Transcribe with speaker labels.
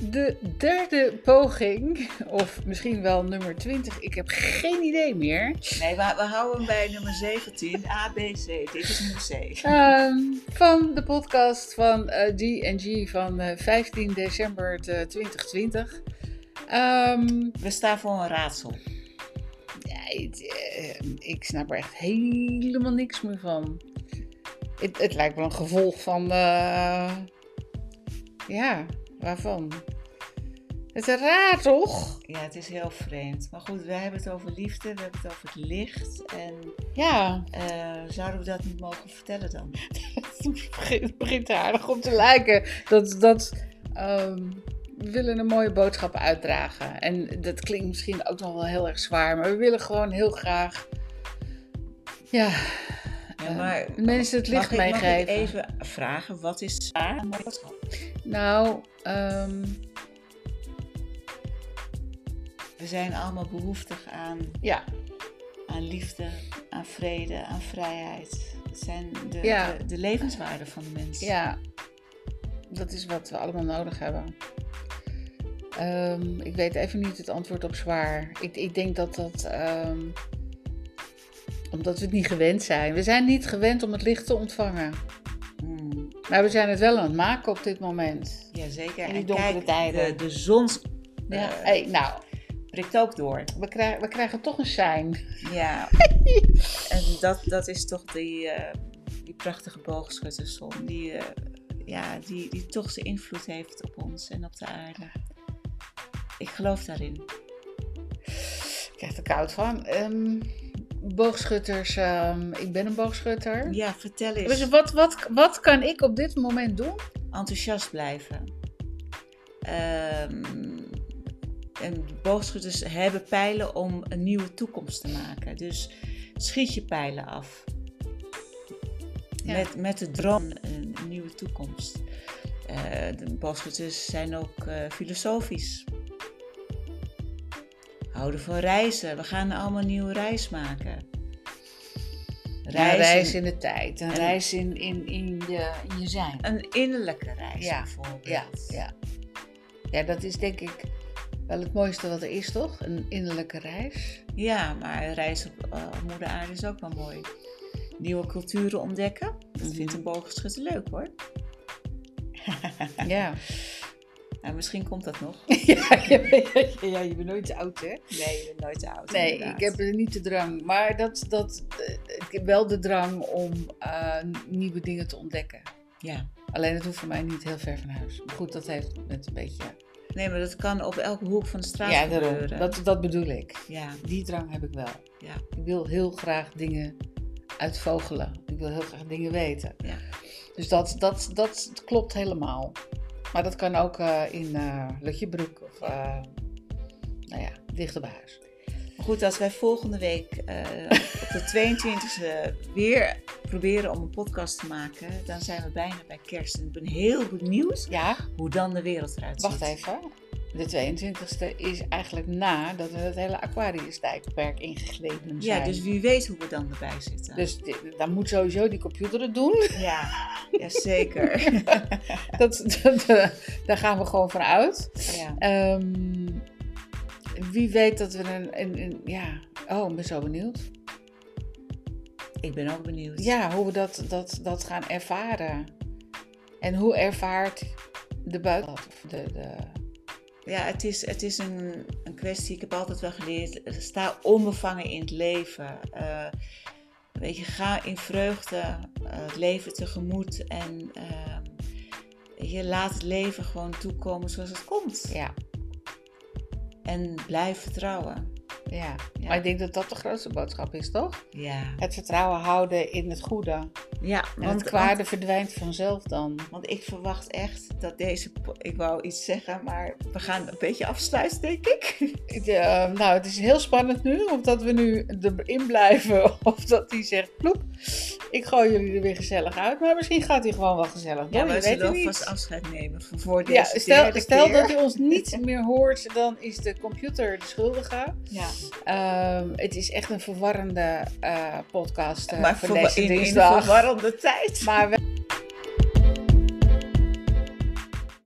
Speaker 1: de derde poging, of misschien wel nummer 20, ik heb geen idee meer,
Speaker 2: Nee, we, we houden hem bij nummer 17. A, B, C. Dit is nummer C.
Speaker 1: ehm, van de podcast van eh, D&G van eh, 15 december te 2020. Ehm,
Speaker 2: We staan voor een raadsel.
Speaker 1: ja, het, eh, ik snap er echt helemaal niks meer van. Het, het lijkt wel een gevolg van, eh, ja, waarvan? Het is raar toch?
Speaker 2: Ja, het is heel vreemd. Maar goed, wij hebben het over liefde, we hebben het over het licht. En
Speaker 1: Ja.
Speaker 2: eh, zouden we dat niet mogen vertellen dan?
Speaker 1: Het begint, het begint er aardig op te lijken. Dat, dat, ehm, we willen een mooie boodschap uitdragen. En dat klinkt misschien ook nog wel heel erg zwaar. Maar we willen gewoon heel graag ja,
Speaker 2: Ja, maar,
Speaker 1: mensen het licht
Speaker 2: mag ik, mag ik
Speaker 1: meegeven.
Speaker 2: even vragen, wat is zwaar? en wat is makkelijk?
Speaker 1: Nou, ehm,
Speaker 2: We zijn allemaal behoeftig aan,
Speaker 1: ja.
Speaker 2: aan liefde, aan vrede, aan vrijheid. Het zijn de,
Speaker 1: Ja.
Speaker 2: de, de levenswaarden van de mens.
Speaker 1: ja, dat is wat we allemaal nodig hebben. Ehm, ik weet even niet het antwoord op zwaar. Ik, ik denk dat dat. ehm, omdat we het niet gewend zijn. We zijn niet gewend om het licht te ontvangen.
Speaker 2: Hmm.
Speaker 1: Maar we zijn het wel aan het maken op dit moment.
Speaker 2: Ja, zeker.
Speaker 1: In die
Speaker 2: En
Speaker 1: donkere
Speaker 2: kijk,
Speaker 1: tijden.
Speaker 2: De, de zon
Speaker 1: Ja.
Speaker 2: eh,
Speaker 1: Hey, nou,
Speaker 2: prikt ook door.
Speaker 1: we, krij- we krijgen toch een sein.
Speaker 2: Ja. en dat, dat is toch die, eh, die prachtige boogschutterszon. Die, eh, ja, die, die toch zijn invloed heeft op ons en op de aarde. Ik geloof daarin.
Speaker 1: Ik krijg er koud van. Ehm, boogschutters, ehm, ik ben een boogschutter.
Speaker 2: Ja, vertel eens.
Speaker 1: Dus wat, wat, wat kan ik op dit moment doen?
Speaker 2: enthousiast blijven. Ehm, en de boogschutters hebben pijlen om een nieuwe toekomst te maken. Dus schiet je pijlen af.
Speaker 1: Ja.
Speaker 2: Met, met de droom een nieuwe toekomst. Eh, de boogschutters zijn ook eh, filosofisch. Houden van reizen. We gaan allemaal een nieuwe reis maken.
Speaker 1: Een reis in de tijd. Een reis in, in, in, je, in je zijn.
Speaker 2: Een innerlijke reis
Speaker 1: Ja,
Speaker 2: bijvoorbeeld.
Speaker 1: Ja, ja. ja, dat is denk ik wel het mooiste wat er is, toch? Een innerlijke reis.
Speaker 2: Ja, maar een reis op eh, moeder aarde is ook wel mooi. Nieuwe culturen ontdekken,
Speaker 1: Mhm.
Speaker 2: dat vindt een boogschutter leuk hoor.
Speaker 1: Ja.
Speaker 2: Nou, misschien komt dat nog.
Speaker 1: ja, ja, je bent nooit oud, hè?
Speaker 2: Nee, je bent nooit te oud.
Speaker 1: Nee,
Speaker 2: inderdaad.
Speaker 1: ik heb er niet de drang. Maar dat, dat, eh, ik heb wel de drang om eh, nieuwe dingen te ontdekken.
Speaker 2: Ja.
Speaker 1: Alleen dat hoeft voor mij niet heel ver van huis. Maar goed, dat heeft met een beetje...
Speaker 2: Nee, maar dat kan op elke hoek van de straat
Speaker 1: Ja, daarom.
Speaker 2: gebeuren.
Speaker 1: Dat, dat bedoel ik.
Speaker 2: Ja,
Speaker 1: Die drang heb ik wel.
Speaker 2: Ja.
Speaker 1: Ik wil heel graag dingen uitvogelen. Ik wil heel graag dingen weten.
Speaker 2: Ja.
Speaker 1: Dus dat, dat, dat klopt helemaal. Maar dat kan ook eh, in eh Lutjebroek of... eh, nou ja, dichter bij huis.
Speaker 2: maar goed, als wij volgende week eh, op de 22e weer proberen om een podcast te maken, dan zijn we bijna bij kerst. En ik ben heel benieuwd
Speaker 1: Ja,
Speaker 2: hoe dan de wereld eruit ziet.
Speaker 1: Wacht even. De 22e is eigenlijk nadat we het hele Aquarius-tijdperk ingegleden zijn.
Speaker 2: Ja, dus wie weet hoe we dan erbij zitten.
Speaker 1: Dus di- dan moet sowieso die computer het doen.
Speaker 2: Ja, ja zeker.
Speaker 1: Dat, dat, eh, daar gaan we gewoon van uit.
Speaker 2: ja.
Speaker 1: Ehm, wie weet dat we een, een, een- Ja, oh, ik ben zo benieuwd.
Speaker 2: Ik ben ook benieuwd.
Speaker 1: Ja, hoe we dat, dat, dat gaan ervaren. En hoe ervaart de buitenland? of De, de...
Speaker 2: Ja, het is, het is een, een kwestie. Ik heb altijd wel geleerd. Sta onbevangen in het leven. Eh, weet je, ga in vreugde eh, het leven tegemoet. En eh, je laat het leven gewoon toekomen zoals het komt.
Speaker 1: Ja,
Speaker 2: En blijf vertrouwen.
Speaker 1: ja.
Speaker 2: Ja.
Speaker 1: Maar ik denk dat dat de grootste boodschap is, toch?
Speaker 2: Ja,
Speaker 1: Het vertrouwen houden in het goede. En
Speaker 2: ja
Speaker 1: het kwade verdwijnt vanzelf dan.
Speaker 2: Want ik verwacht echt dat deze. po- Ik wou iets zeggen, maar we gaan een beetje afsluiten, denk ik.
Speaker 1: Ik, eh, nou, het is heel spannend nu. Of dat we nu erin blijven. Of dat hij zegt, ploep, ik gooi jullie er weer gezellig uit. Maar misschien gaat hij gewoon wel gezellig door.
Speaker 2: Ja, maar
Speaker 1: je
Speaker 2: we
Speaker 1: weet
Speaker 2: zullen
Speaker 1: het
Speaker 2: alvast
Speaker 1: niet.
Speaker 2: afscheid nemen van voor deze
Speaker 1: Ja, stel,
Speaker 2: derde
Speaker 1: stel
Speaker 2: keer.
Speaker 1: dat hij ons niet meer hoort, dan is de computer de schuldige.
Speaker 2: Ja.
Speaker 1: Ehm, het is echt een verwarrende eh, podcast eh,
Speaker 2: maar
Speaker 1: voor
Speaker 2: voor,
Speaker 1: deze
Speaker 2: in, in een
Speaker 1: dinsdag.
Speaker 2: verwarrende tijd.
Speaker 1: maar we